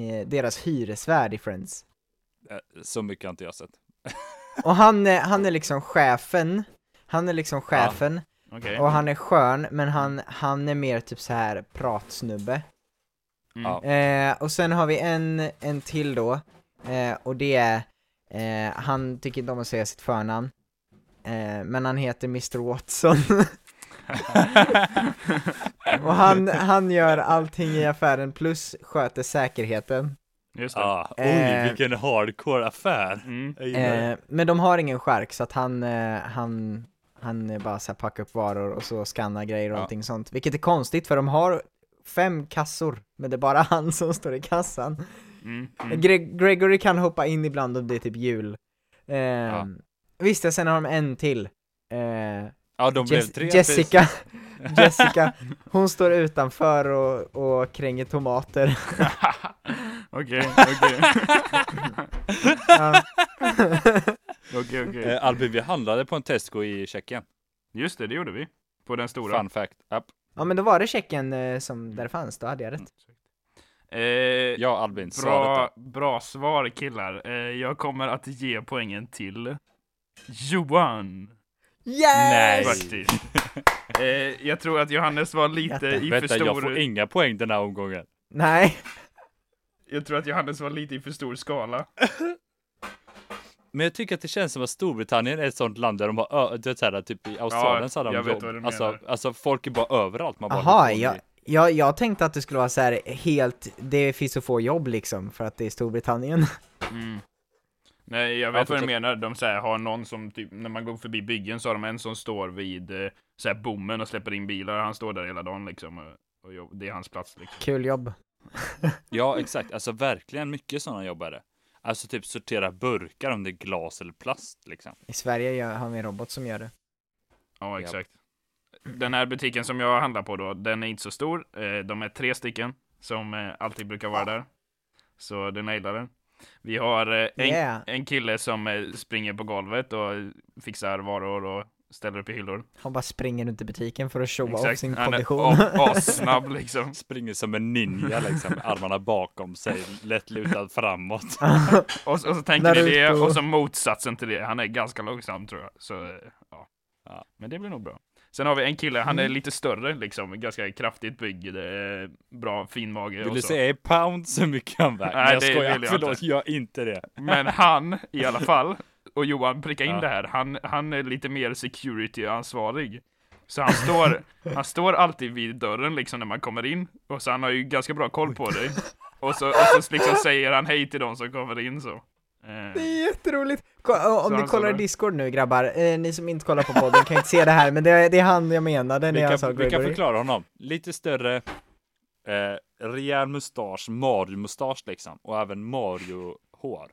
C: Eh, deras hyresvärd i Friends.
B: eh, Så mycket har inte jag sett.
C: Och han, eh, han är liksom chefen, han är liksom chefen
A: Okej.
C: och han är skön men han, han är mer typ så här pratsnubbe.
A: Mm.
B: Ja.
C: Eh, och sen har vi en, en till då, eh, och det är, eh, han tycker inte om att säga sitt förnamn, eh, men han heter Mr Watson. Och han, han gör allting i affären plus sköter säkerheten.
A: Just det.
B: ah,
C: Eh.
B: oj, vilken hardcore affär.
A: Mm.
B: Jag gillar det.
C: Eh, men de har ingen skärk så att han, eh, han, han eh, bara så här packar upp varor och så skannar grejer och
B: Ja.
C: allting sånt. Vilket är konstigt för de har fem kassor, men det är bara han som står i kassan.
A: Mm.
C: Mm.
A: Mm.
C: Gre- Gregory kan hoppa in ibland om det är typ jul. Eh,
B: Ja.
C: Visst, sen har de en till. Eh,
B: Ja, de blev
C: Jes-
B: tre
C: Jessica, Jessica, hon står utanför och, och kränger tomater.
A: Okej, okej,
C: Ja.
A: okej,
B: precis.
A: okej.
B: Eh, Albin, vi handlade på en Tesco i Tjeckien.
A: Just det, det gjorde vi. På den stora.
B: Fun fact. App.
C: ja men då var det Tjeckien eh, som där fanns, då hade jag rätt.
A: Eh,
B: Ja, Albin. Bra.
A: Bra, bra svar killar. Eh, jag kommer att ge poängen till Johan.
B: Nej.
C: Yes!
A: Faktiskt. Eh, jag tror att Johannes var lite i för
B: Vänta, jag får
A: stor.
B: inga poäng den här omgången.
C: Nej,
A: Jag tror att Johannes var lite i för stor skala.
B: Men jag tycker att det känns som att Storbritannien är ett sånt land där de har, ö- du vet såhär, typ i Australien så hade
A: jag
B: de
A: vet vad du
B: jobb.
A: menar.
B: Alltså, alltså folk är bara överallt. Man bara,
C: Aha,
B: "Vad får
C: jag,
B: ni?"
C: jag, jag tänkte att det skulle vara så här helt, det finns så få jobb liksom, för att det är Storbritannien.
A: Nej, jag vet vad du
B: fortsätt.
A: menar. De så här, har någon som, typ, när man går förbi byggen så har de en som står vid eh, så här, bommen och släpper in bilar. Han står där hela dagen liksom. Och, och jobb- det är hans plats liksom.
C: Kul jobb.
B: Ja, exakt. Alltså verkligen mycket sådana jobbare. Alltså typ sortera burkar om det är glas eller plast liksom.
C: I Sverige gör- har vi en robot som gör det.
A: Ja,
B: Japp.
A: exakt. Den här butiken som jag handlar på då, den är inte så stor. Eh, De är tre stycken som eh, alltid brukar vara där. Så den gillar den. Vi har eh, en,
C: Yeah.
A: en kille som eh, springer på golvet och fixar varor och ställer upp i hyllor.
C: Han bara springer runt i butiken för att showa av
A: Exakt.
C: sin
A: Han är
C: kondition.
A: a- assnabb liksom.
B: Springer som en ninja liksom, med armarna bakom sig, lätt lutad framåt.
A: Och, och så tänker ni det,
C: Naruto.
A: och så motsatsen till det. Han är ganska långsam tror jag. Så, eh, ja.
B: Ja.
A: Men det blir nog bra. Sen har vi en kille, han är lite större liksom, ganska kraftigt byggd, eh, bra fin mage
B: Vill
A: och
B: du
A: så.
B: säga i pound så mycket han väger?
A: Nej,
B: Nej, jag
A: det
B: skojar.
A: vill jag
B: Förlåt, gör inte det.
A: Men han, i alla fall, och Johan prickar in
B: Ja.
A: det här, han, han är lite mer security-ansvarig. Så han står, han står alltid vid dörren liksom när man kommer in, och så han har ju ganska bra koll på dig. Och så, och så liksom säger han hej till de som kommer in så.
C: Det
A: Eh,
C: är jätteroligt! Ko- och
A: Så
C: om ni
A: han
C: kollar i
A: sa det.
C: Discord nu grabbar, eh, ni som inte kollar på podden kan inte se det här, men det är, det är han jag menade när
B: Vi
C: jag sa
B: kan, vi kan
C: Gregory.
B: förklara honom. Lite större, eh, rejäl mustasch, Mario-mustasch liksom. Och även Mario-hår.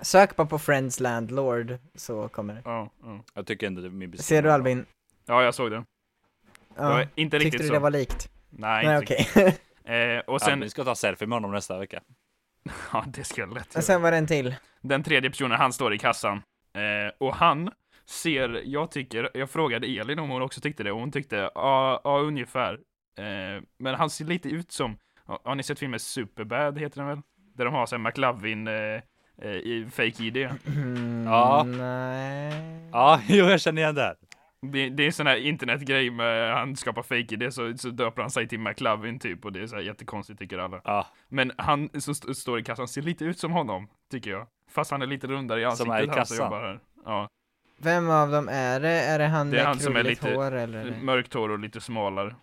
C: Sök bara på Friends Landlord så kommer det.
A: ja, ja.
B: Jag tycker ändå det är min
C: Ser du Albin?
A: ja, jag såg den. Det
C: Ja.
A: var inte
C: Tyckte
A: riktigt
C: du
A: så.
C: det var likt?
A: Nej,
C: Nej
A: inte
C: okej.
A: riktigt. eh, Och sen,
B: Albin ska ta selfie med honom nästa vecka.
A: ja det ska jag lätt
C: Och
A: göra.
C: sen var det en till.
A: Den tredje personen, han står i kassan. Eh, och han ser, jag tycker, jag frågade Elin om hon också tyckte det, och hon tyckte ja, ja ungefär. Eh, men han ser lite ut som, ja, har ni sett filmen Superbad, heter den väl? Där de har såhär McLovin, eh, eh, i fake ID.
C: Mm,
B: Ja.
C: Nej.
B: Ja, jo, jag känner igen det här.
A: Det, det är en sån här internetgrej med, han skapar fake ID, så, så döper han sig till McLovin typ, och det är så här jättekonstigt tycker alla.
B: Ja,
A: Men han som st- står i kassan ser lite ut som honom, tycker jag. Fast han är lite rundare i ansiktet,
B: Som är i
A: han som
B: kassan.
A: jobbar här. Ja.
C: Vem av dem är det? Är det han
A: Det är
C: med
A: han som är
C: krulligt
A: lite-
C: hår eller? är det-
A: Mörkt hår och lite smalare.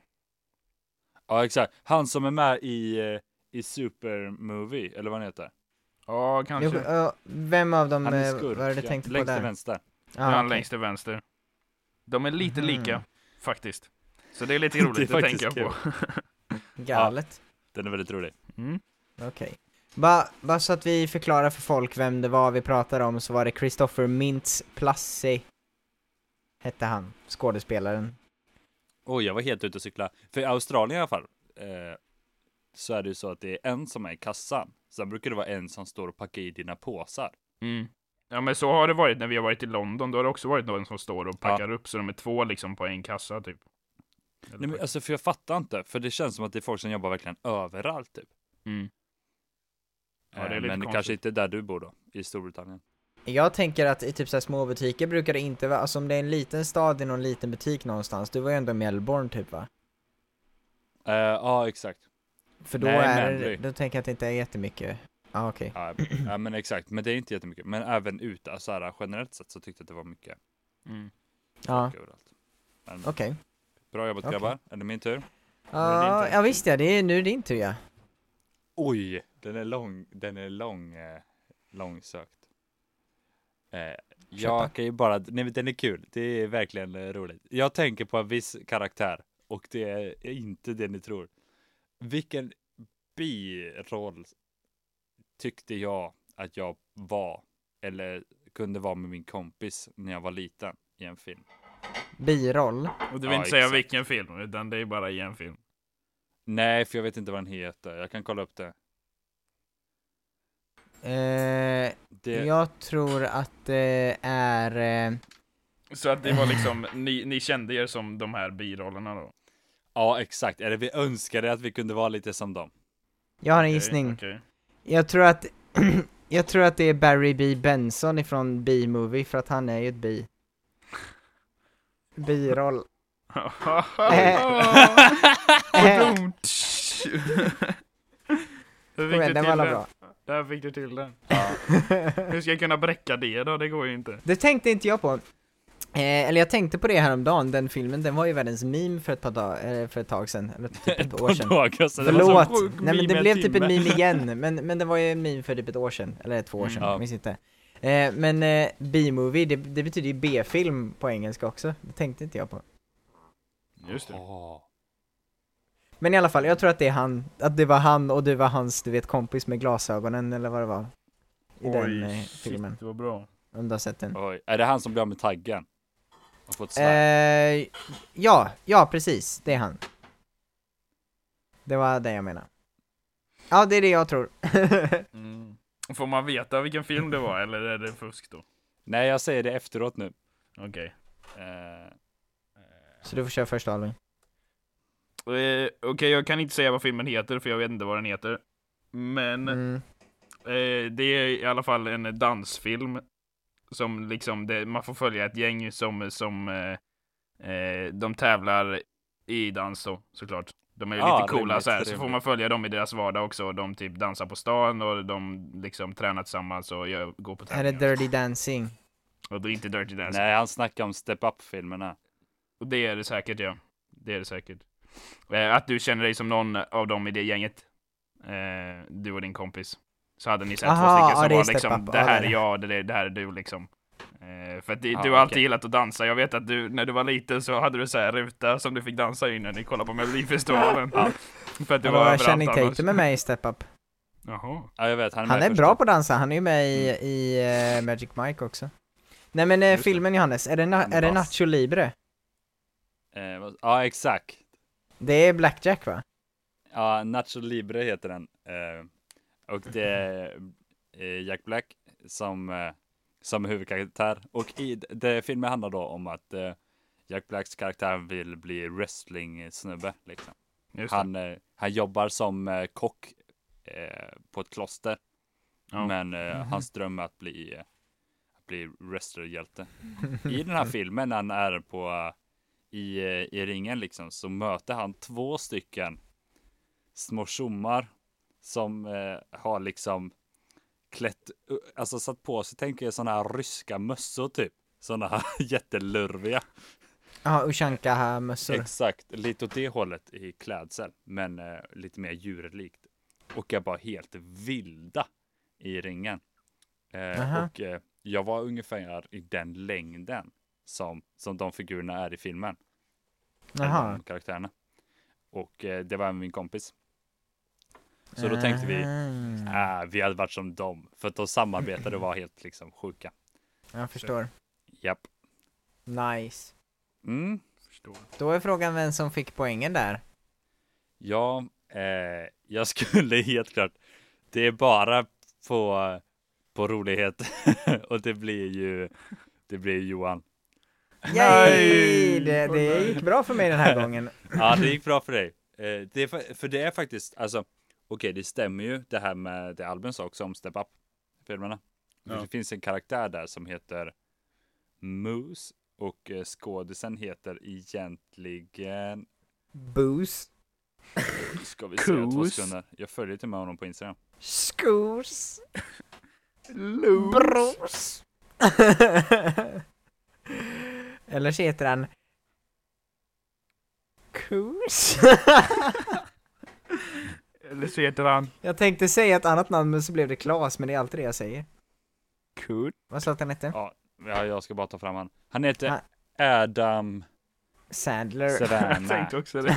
B: ja exakt. Han som är med i, eh, i Super Movie, eller vad han heter.
A: Ja,
C: Jo,
A: kanske.
C: ja, vem av dem,
B: Han är
C: eh,
B: skurk.
C: vad är det
B: ja.
C: tänkte på
B: Längst till
C: där?
B: vänster.
A: Ja, han
C: Ja, okej.
A: längst till vänster. De är lite
C: Mhm.
A: lika, faktiskt. Så det är lite
B: Det är
A: roligt att
B: faktiskt
A: tänka på.
C: Galet.
B: Den är väldigt rolig.
A: Mm.
C: Okej. Bara bara så att vi förklarar för folk vem det var vi pratade om så var det Christopher Mintz Plassi hette han, skådespelaren.
B: Oj, jag var helt ute och cykla. För i Australien i alla fall, eh, så är det ju så att det är en som är i kassan. Sen brukar det vara en som står och packar i dina påsar.
A: Mm. Ja, men så har det varit när vi har varit i London. Då har det också varit någon som står och packar upp, så de är två liksom på en kassa, typ. Eller
B: Nej, men alltså, för jag fattar inte, för det känns som att det är folk som jobbar verkligen överallt typ.
A: Mm. Ja, det är
B: Eh,
A: lite
B: men
A: konstigt.
B: kanske inte där du bor då, i Storbritannien.
C: Jag tänker att i typ så här små butiker brukar det inte vara, alltså om det är en liten stad i någon liten butik någonstans, du var ju ändå i Melbourne typ va?
B: Eh, Ja, exakt.
C: För då
B: Nej,
C: är det,
B: Manly.
C: då tänker jag att det inte är jättemycket, ja ah, okej.
B: Ja, ja, men exakt. Men det är inte jättemycket. Men även ute, så här, generellt sett så tyckte jag att det var mycket
A: Mm.
C: Ja,
B: överallt. Men,
C: okej.
B: Bra jobbat
C: Okej.
B: grabbar, är det min tur?
A: är
C: Ja,
A: din tur.
C: ja visst ja, det är nu din tur ja.
B: Oj, den är lång, den är lång, eh, långsökt. Eh,
C: Köpa.
B: jag kan ju bara, nej men den är kul, det är verkligen eh, roligt. Jag tänker på en viss karaktär och det är inte det ni tror. Vilken biroll tyckte jag att jag var eller kunde vara med min kompis när jag var liten i en film?
C: Biroll.
A: Och du vill
B: Ja,
A: inte säga
B: exakt.
A: vilken film, utan det är bara i en film.
B: Nej, för jag vet inte vad den heter. Jag kan kolla upp det.
C: Eh,
B: det
C: Jag tror att det är... Eh,
A: Så att det var liksom, ni, ni kände er som de här birollerna då?
B: Ja, exakt. Eller vi önskade att vi kunde vara lite som dem.
C: jag har en
A: Okej,
C: gissning.
A: okej.
C: Jag tror att... jag tror att det är Barry B. Benson ifrån B-movie för att han är ju ett bi. Biroll. Eh,
A: Vadå? Hur
C: Kom
A: fick
C: igen,
A: du
C: den
A: till
C: var alla
A: den?
C: bra.
A: Där fick du till den. Hur ska jag kunna bräcka det då? Det går ju inte.
C: Det tänkte inte jag på. Eh, eller jag tänkte på det häromdagen, den filmen, den var ju världens meme för ett par dagar, eh, för ett tag sedan, eller typ ett år sedan.
B: Dagar, så det var så
C: Förlåt!
B: sjuk
C: Nej men
B: meme i
C: det
B: en
C: blev typ
B: timme.
C: en meme igen, men, men det var ju en meme för typ ett år sedan, eller två år
A: Mm,
C: sedan,
B: ja.
C: jag minns inte. Eh, men eh, B-movie, det, det betyder ju B-film på engelska också, det tänkte inte jag på.
A: Just det.
B: Jaha.
C: Men i alla fall, jag tror att det är han, att det var han och det var hans, du vet, kompis med glasögonen eller vad det var. I den eh, filmen,
A: shit vad bra.
C: om du har sett den.
B: Oj. Är det han som blir av med taggen? Och fått svärd?
C: Eh, ja, ja precis, det är han. Det var det jag menade. Ja, det är det jag tror.
A: Mm. Får man veta vilken film det var eller är det fusk då?
B: Nej, jag säger det efteråt nu.
A: Okej.
B: Eh,
C: Så du får köra först Albin.
A: Eh, Okej, jag kan inte säga vad filmen heter för jag vet inte vad den heter. Men
C: Mm.
A: eh, det är i alla fall en dansfilm. Som liksom, det, man får följa ett gäng som, som eh, eh, de tävlar i dans då, såklart. De är ju
B: Ja,
A: lite coola
B: Ah, rimligt,
A: så här, så
B: rimligt.
A: får man följa dem i deras vardag också. De typ dansar på stan och de liksom tränar tillsammans och gör, går på
C: Är det
A: tävlingar.
C: Dirty Dancing?
A: Och det är inte Dirty Dancing.
B: nej, han snackar om Step Up-filmerna.
A: Och det är det säkert, ja. Det är det säkert. Eh, att du känner dig som någon av dem i det gänget. Eh, du och din kompis. Så hade ni sett två
C: Aha,
A: stycken
C: ja,
A: som
C: det är
A: var
C: Step
A: liksom,
C: Up.
A: det
C: Ja,
A: här
C: det
A: är
C: är
A: jag, det, är- det här är du liksom. Eh, för att det,
B: Ah,
A: du har alltid
B: okej.
A: gillat att dansa. Jag vet att du, när du var liten så hade du så här ruta som du fick dansa i när ni kollade på Melodifestivalen. för att du
C: Det
A: var
C: var
A: överallt
C: Channing
A: annars.
C: Tatum med mig i Step Up.
A: Jaha.
B: Ja, jag vet. Han är,
C: Han
B: med
C: är
B: först.
C: bra på att dansa, han är ju med i, i eh, Magic Mike också. Nej men eh,
A: Just det.
C: filmen Johannes, är det, na-
B: Han är
C: är det
B: vass.
C: Nacho Libre?
B: Eh, vad- ja, exakt.
C: Det är Blackjack va?
B: Ja, Nacho Libre heter den. Eh, och det är eh, Jack Black som, eh, som är huvudkaraktär. Och i d- det filmen handlar då om att eh, Jack Blacks karaktär vill bli wrestling-snubbe. Liksom.
A: Just det.
B: Han, eh, han jobbar som eh, kock eh, på ett kloster.
A: Ja.
B: Men eh, hans dröm är att bli, eh, att bli wrestlerhjälte. I den här filmen när han är på eh, i, eh, i ringen liksom så möter han två stycken små tjommar som eh, har liksom klätt, u- alltså satt på sig, tänker jag sådana här ryska mössor typ. Sådana här jättelurviga.
C: Ja, Ushanka-mössor.
B: Exakt, lite åt det hållet i klädsel, men eh, lite mer djurlikt. Och jag var helt vilda i ringen. Eh,
C: Aha.
B: och eh, jag var ungefär i den längden som, som de figurerna är i filmen. eller
C: Jaha.
B: De karaktärerna. Och eh, det var även min kompis. Så då tänkte vi,
C: Ah,
B: äh, vi hade varit som dem. För att de samarbetade och var helt liksom sjuka.
C: Jag förstår.
B: Japp.
C: Nice.
B: Mm.
A: Förstår.
C: Då är frågan vem som fick poängen där.
B: Ja, eh, jag skulle helt klart. Det är bara på, på rolighet och det blir ju, det blir Johan.
C: Yay! Det,
A: Åh,
C: det
A: nej.
C: gick bra för mig den här gången.
B: Ja, det gick bra för dig. Eh, det är, fa- för det är faktiskt, alltså, okej, det stämmer ju det här med det Albin sa också om Step Up filmerna. För
A: Ja.
B: Det finns en karaktär där som heter Moose och eh, skådisen heter egentligen,
C: Boost.
B: ska vi se, två
A: Koos.
B: sekunder. Jag följer till och med honom på Instagram.
C: Skos.
A: Lose.
C: Bros. Eller så heter han Cruise?
A: Eller så heter han
C: jag tänkte säga ett annat namn men så blev det Klas, men det är alltid det jag säger.
B: Kurt.
C: Vad sa du att han hette?
B: Ja, jag ska bara ta fram han. Han heter
C: Nej.
B: Adam
C: Sandler.
A: Jag
B: Savannah.
A: tänkte också det.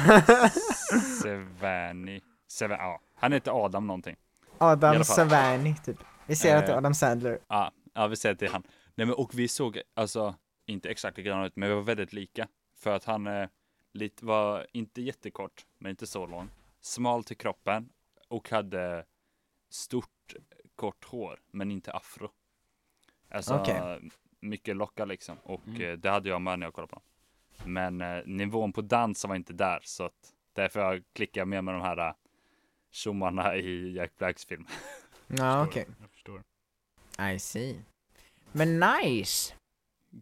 B: Savani. Savan- ja. Han heter Adam någonting. I alla
C: Adam
B: fall.
C: Savani, typ. Vi säger att det är
B: Eh.
C: Adam Sandler.
B: Ja, ja vi säger att det är han. Nej men och vi såg, alltså, inte exakt likadana ut, men vi var väldigt lika. För att han eh, lite, var inte jättekort, men inte så lång. Smal till kroppen och hade stort kort hår, men inte afro. Alltså,
C: Okej.
B: mycket lockar liksom. Och
A: Mm.
B: eh, det hade jag med när jag kollade på honom. Men eh, nivån på dans var inte där, så att därför jag klickar mer med de här eh, tjommarna i Jack Blacks film.
C: Ja,
A: Förstår.
C: okej.
A: Jag förstår.
C: I see. Men nice!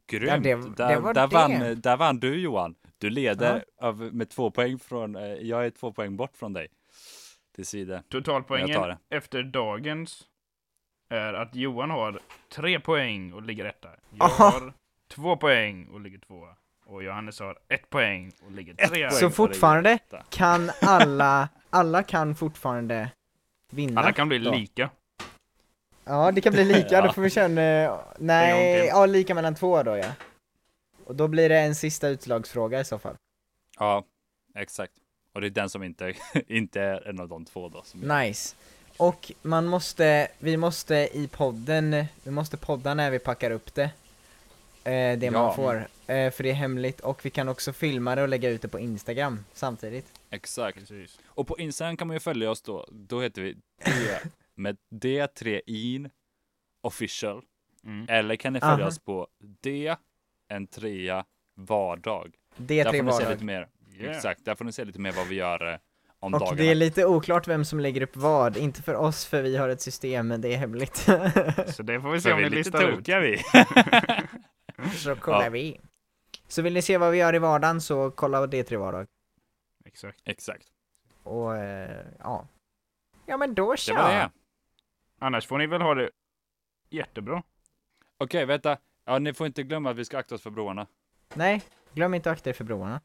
B: Grymt!
C: Ja, det-
B: där,
C: det var
B: där,
C: det.
B: Vann, där vann du Johan. Du leder av, med två poäng från, eh, jag är två poäng bort från dig. Till sidan. Jag tar
A: Totalpoängen
B: det.
A: efter dagens är att Johan har tre poäng och ligger etta. Jag
C: Aha.
A: har två poäng och ligger tvåa. Och Johannes har ett poäng och ligger
B: Ett
A: trea.
B: poäng.
C: Så fortfarande
B: detta.
C: kan alla, alla kan fortfarande vinna.
A: Alla kan bli
B: Ja.
A: lika.
C: Ja, det kan bli lika,
B: Ja.
C: då får vi köra en, eh,
A: En
C: nej,
A: gång till.
C: ja lika mellan två då ja. Och då blir det en sista utslagsfråga i så fall.
B: Ja, exakt. Och det är den som inte, inte är en av de två då. Som
C: Nice. Och man måste, vi måste i podden, vi måste podda när vi packar upp det. Eh, det man
B: Ja.
C: får. Eh, för det är hemligt och vi kan också filma det och lägga ut det på Instagram samtidigt.
B: Exakt.
A: Precis.
B: Och på Instagram kan man ju följa oss då. Då heter vi D med D3in official.
A: Mm.
B: Eller kan ni följa
C: Aha.
B: oss på D en trea vardag.
C: Det är
B: där
C: tre
B: får ni se
C: vardag.
B: lite mer.
A: Yeah.
B: Exakt, där får ni se lite mer vad vi gör eh, om
C: Och
B: dagarna.
C: det är lite oklart vem som lägger upp vad, inte för oss för vi har ett system men det är hemligt.
A: Så det får vi se
B: För
A: om
B: vi
A: ni
B: är lite
A: listar ut.
B: tokiga vi.
C: så kollar
B: Ja.
C: vi. Så vill ni se vad vi gör i vardagen så kolla det tre vardag.
A: Exakt.
B: Exakt.
C: Och eh, ja. Ja men då
B: Det
C: tja!
B: var det.
A: Annars får ni väl ha det jättebra.
B: Okej, vänta. Ja, ni får inte glömma att vi ska akta oss för broarna.
C: Nej, glöm inte att akta er för broarna.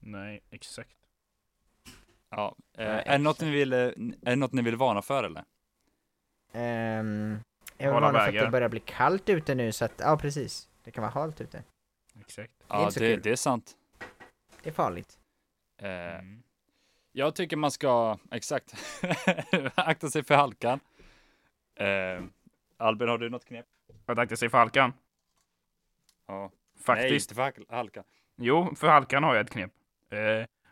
A: Nej, exakt.
B: Ja. Eh,
C: Nej,
B: är, det något ni vill, eh, är det något ni vill varna för eller?
C: Ehm, jag vill
A: Hålla
C: varna för att
A: vägar.
C: det börjar bli kallt ute nu så att, ja precis. Det kan vara halt ute.
A: Exakt.
C: är
B: Ja,
C: inte så
B: det,
C: kul.
B: det är sant.
C: Det är farligt.
B: Eh,
A: Mm.
B: jag tycker man ska, exakt, akta sig för halkan. Eh, Albin, har du något knep?
A: Att akta sig för halkan.
B: Ja. Nej,
A: Faktiskt.
B: inte för halk- halkan.
A: Jo, för halkan har jag ett knep. Eh,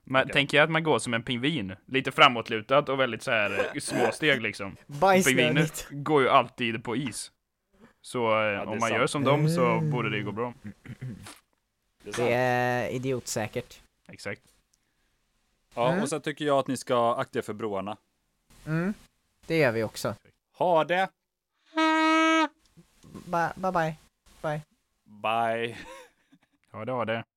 A: man,
B: Okej.
A: Tänker jag att man går som en pingvin. Lite framåtlutad och väldigt så här eh, små steg liksom. Pingviner
C: Bajsnödigt.
A: går ju alltid på is. Så eh,
B: det är
A: om man
B: sant. Eh.
A: gör som dem så
C: Mm.
A: borde det gå bra.
B: Det är sant.
C: Det är idiotsäkert.
A: Exakt.
B: Ja,
C: Mm.
B: och sen tycker jag att ni ska akta er för broarna.
C: Mm, det gör vi också.
B: Ha det!
C: Ba- bye bye.
B: Bye!
A: Ja, det har det.